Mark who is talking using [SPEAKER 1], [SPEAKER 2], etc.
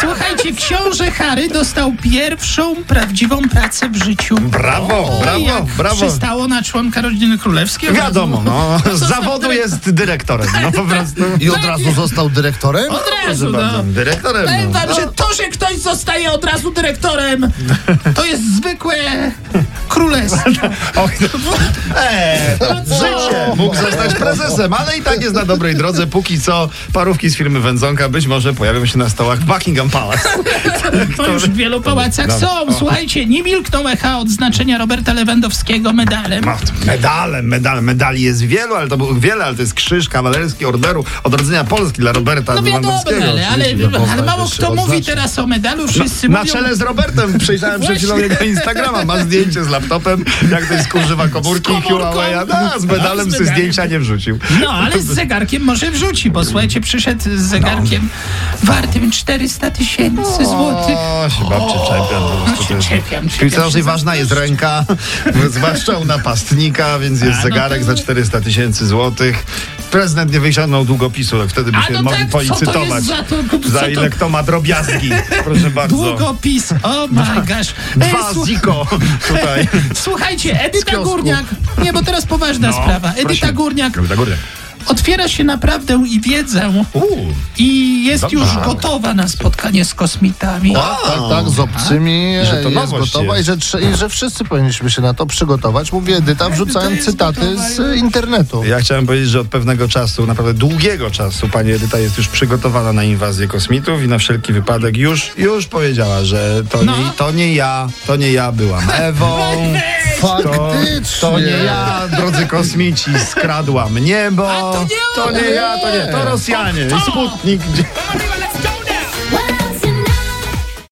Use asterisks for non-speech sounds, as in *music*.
[SPEAKER 1] Słuchajcie, książę Harry dostał pierwszą prawdziwą pracę w życiu.
[SPEAKER 2] Brawo,
[SPEAKER 1] I
[SPEAKER 2] brawo,
[SPEAKER 1] jak
[SPEAKER 2] brawo.
[SPEAKER 1] przystało na członka rodziny królewskiej. od razu-
[SPEAKER 2] Wiadomo, no,
[SPEAKER 1] *laughs* No,
[SPEAKER 2] z
[SPEAKER 1] został
[SPEAKER 2] zawodu
[SPEAKER 1] dyrektorem.
[SPEAKER 2] jest dyrektorem, no po prostu.
[SPEAKER 3] I od razu został dyrektorem?
[SPEAKER 1] Tak, Od razu,
[SPEAKER 2] Bardzo,
[SPEAKER 1] no.
[SPEAKER 2] Dyrektorem.
[SPEAKER 1] Powiem
[SPEAKER 2] no.
[SPEAKER 1] wam, że to, że ktoś zostaje od razu dyrektorem, to jest zwykłe królestwo.
[SPEAKER 2] *laughs*
[SPEAKER 1] No
[SPEAKER 2] Och, eee, życie! Mógł zostać prezesem, ale i tak jest na dobrej drodze. Póki co parówki z firmy Wędzonka być może pojawią się na stołach Buckingham Palace.
[SPEAKER 1] To już w wielu pałacach
[SPEAKER 2] Dobra.
[SPEAKER 1] są. Słuchajcie, nie milkną echa odznaczenia Roberta Lewandowskiego medalem.
[SPEAKER 2] No, Medale, medal, medali jest wielu, ale to było wiele, ale to jest krzyż kawalerski Orderu Odrodzenia Polski dla Roberta
[SPEAKER 1] No wiadomo,
[SPEAKER 2] Lewandowskiego.
[SPEAKER 1] ale, ale,
[SPEAKER 3] oczywiście, bo
[SPEAKER 1] ale mało
[SPEAKER 3] najwyższy
[SPEAKER 1] kto mówi
[SPEAKER 3] odznacznik.
[SPEAKER 1] teraz o medalu. Wszyscy
[SPEAKER 2] Na
[SPEAKER 1] mówią...
[SPEAKER 2] czele z
[SPEAKER 1] *laughs*
[SPEAKER 2] Robertem przejrzałem przed chwilą
[SPEAKER 1] Właśnie.
[SPEAKER 2] jego Instagrama. Ma zdjęcie z laptopem, jak ktoś skużywa komórki
[SPEAKER 1] Z
[SPEAKER 2] i
[SPEAKER 1] komórką.
[SPEAKER 2] Huawei'a. No, z
[SPEAKER 1] No, z
[SPEAKER 2] medalem sobie
[SPEAKER 1] medalem.
[SPEAKER 2] zdjęcia nie wrzucił.
[SPEAKER 1] No, ale z zegarkiem może wrzuci, bo słuchajcie, przyszedł z zegarkiem wartym 400 tysięcy złotych.
[SPEAKER 2] O, się babcie czepia. po prostu
[SPEAKER 1] się
[SPEAKER 2] to jest-
[SPEAKER 1] czepiam,
[SPEAKER 2] Czyli
[SPEAKER 1] czepiam
[SPEAKER 2] coraz
[SPEAKER 1] się
[SPEAKER 2] ważna jest ręka, *laughs* zwłaszcza u napastnika, więc jest
[SPEAKER 1] A, no
[SPEAKER 2] zegarek
[SPEAKER 1] to-
[SPEAKER 2] za 400 tysięcy złotych. Prezydent nie wyciągnął długopisu, to wtedy
[SPEAKER 1] A
[SPEAKER 2] byśmy
[SPEAKER 1] no
[SPEAKER 2] mogli
[SPEAKER 1] tak, co to jest
[SPEAKER 2] policytować.
[SPEAKER 1] za to- co
[SPEAKER 2] za
[SPEAKER 1] to-
[SPEAKER 2] ile kto ma drobiazgi, proszę bardzo.
[SPEAKER 1] Długopis, o oh my gosh. E,
[SPEAKER 2] No. Dwa
[SPEAKER 1] słuch-
[SPEAKER 2] ziko tutaj.
[SPEAKER 1] Słuchajcie, Edyta
[SPEAKER 2] kiosku. No,
[SPEAKER 1] Górniak. Nie, bo teraz poważna sprawa. Edyta
[SPEAKER 2] prosimy.
[SPEAKER 1] Górniak
[SPEAKER 2] Edyta Górniak.
[SPEAKER 1] otwiera się naprawdę i wiedzę
[SPEAKER 2] Uuu.
[SPEAKER 1] i jest
[SPEAKER 2] Dobra.
[SPEAKER 1] już gotowa na spotkanie z kosmitami.
[SPEAKER 3] Tak, tak, tak, z obcymi
[SPEAKER 2] Że
[SPEAKER 3] że
[SPEAKER 2] to
[SPEAKER 3] jest
[SPEAKER 2] nowość
[SPEAKER 3] gotowa
[SPEAKER 2] jest.
[SPEAKER 3] I, że, trze- i że wszyscy powinniśmy się na to przygotować. Mówi Edyta, wrzucając
[SPEAKER 1] jest
[SPEAKER 3] cytaty
[SPEAKER 1] gotowa
[SPEAKER 3] z
[SPEAKER 1] już.
[SPEAKER 3] e, internetu.
[SPEAKER 2] Ja chciałem powiedzieć, że od pewnego czasu, naprawdę długiego czasu, pani Edyta jest już przygotowana na inwazję kosmitów i na wszelki wypadek już, już powiedziała, że to,
[SPEAKER 1] No.
[SPEAKER 2] nie, to nie ja, to nie ja byłam
[SPEAKER 1] *laughs*
[SPEAKER 2] Ewą. To,
[SPEAKER 3] Faktycznie.
[SPEAKER 2] to nie ja, drodzy kosmici, skradłam niebo.
[SPEAKER 1] A to nie
[SPEAKER 2] to
[SPEAKER 1] on.
[SPEAKER 2] nie ja, to nie, to Rosjanie. I Sputnik. Gdzie...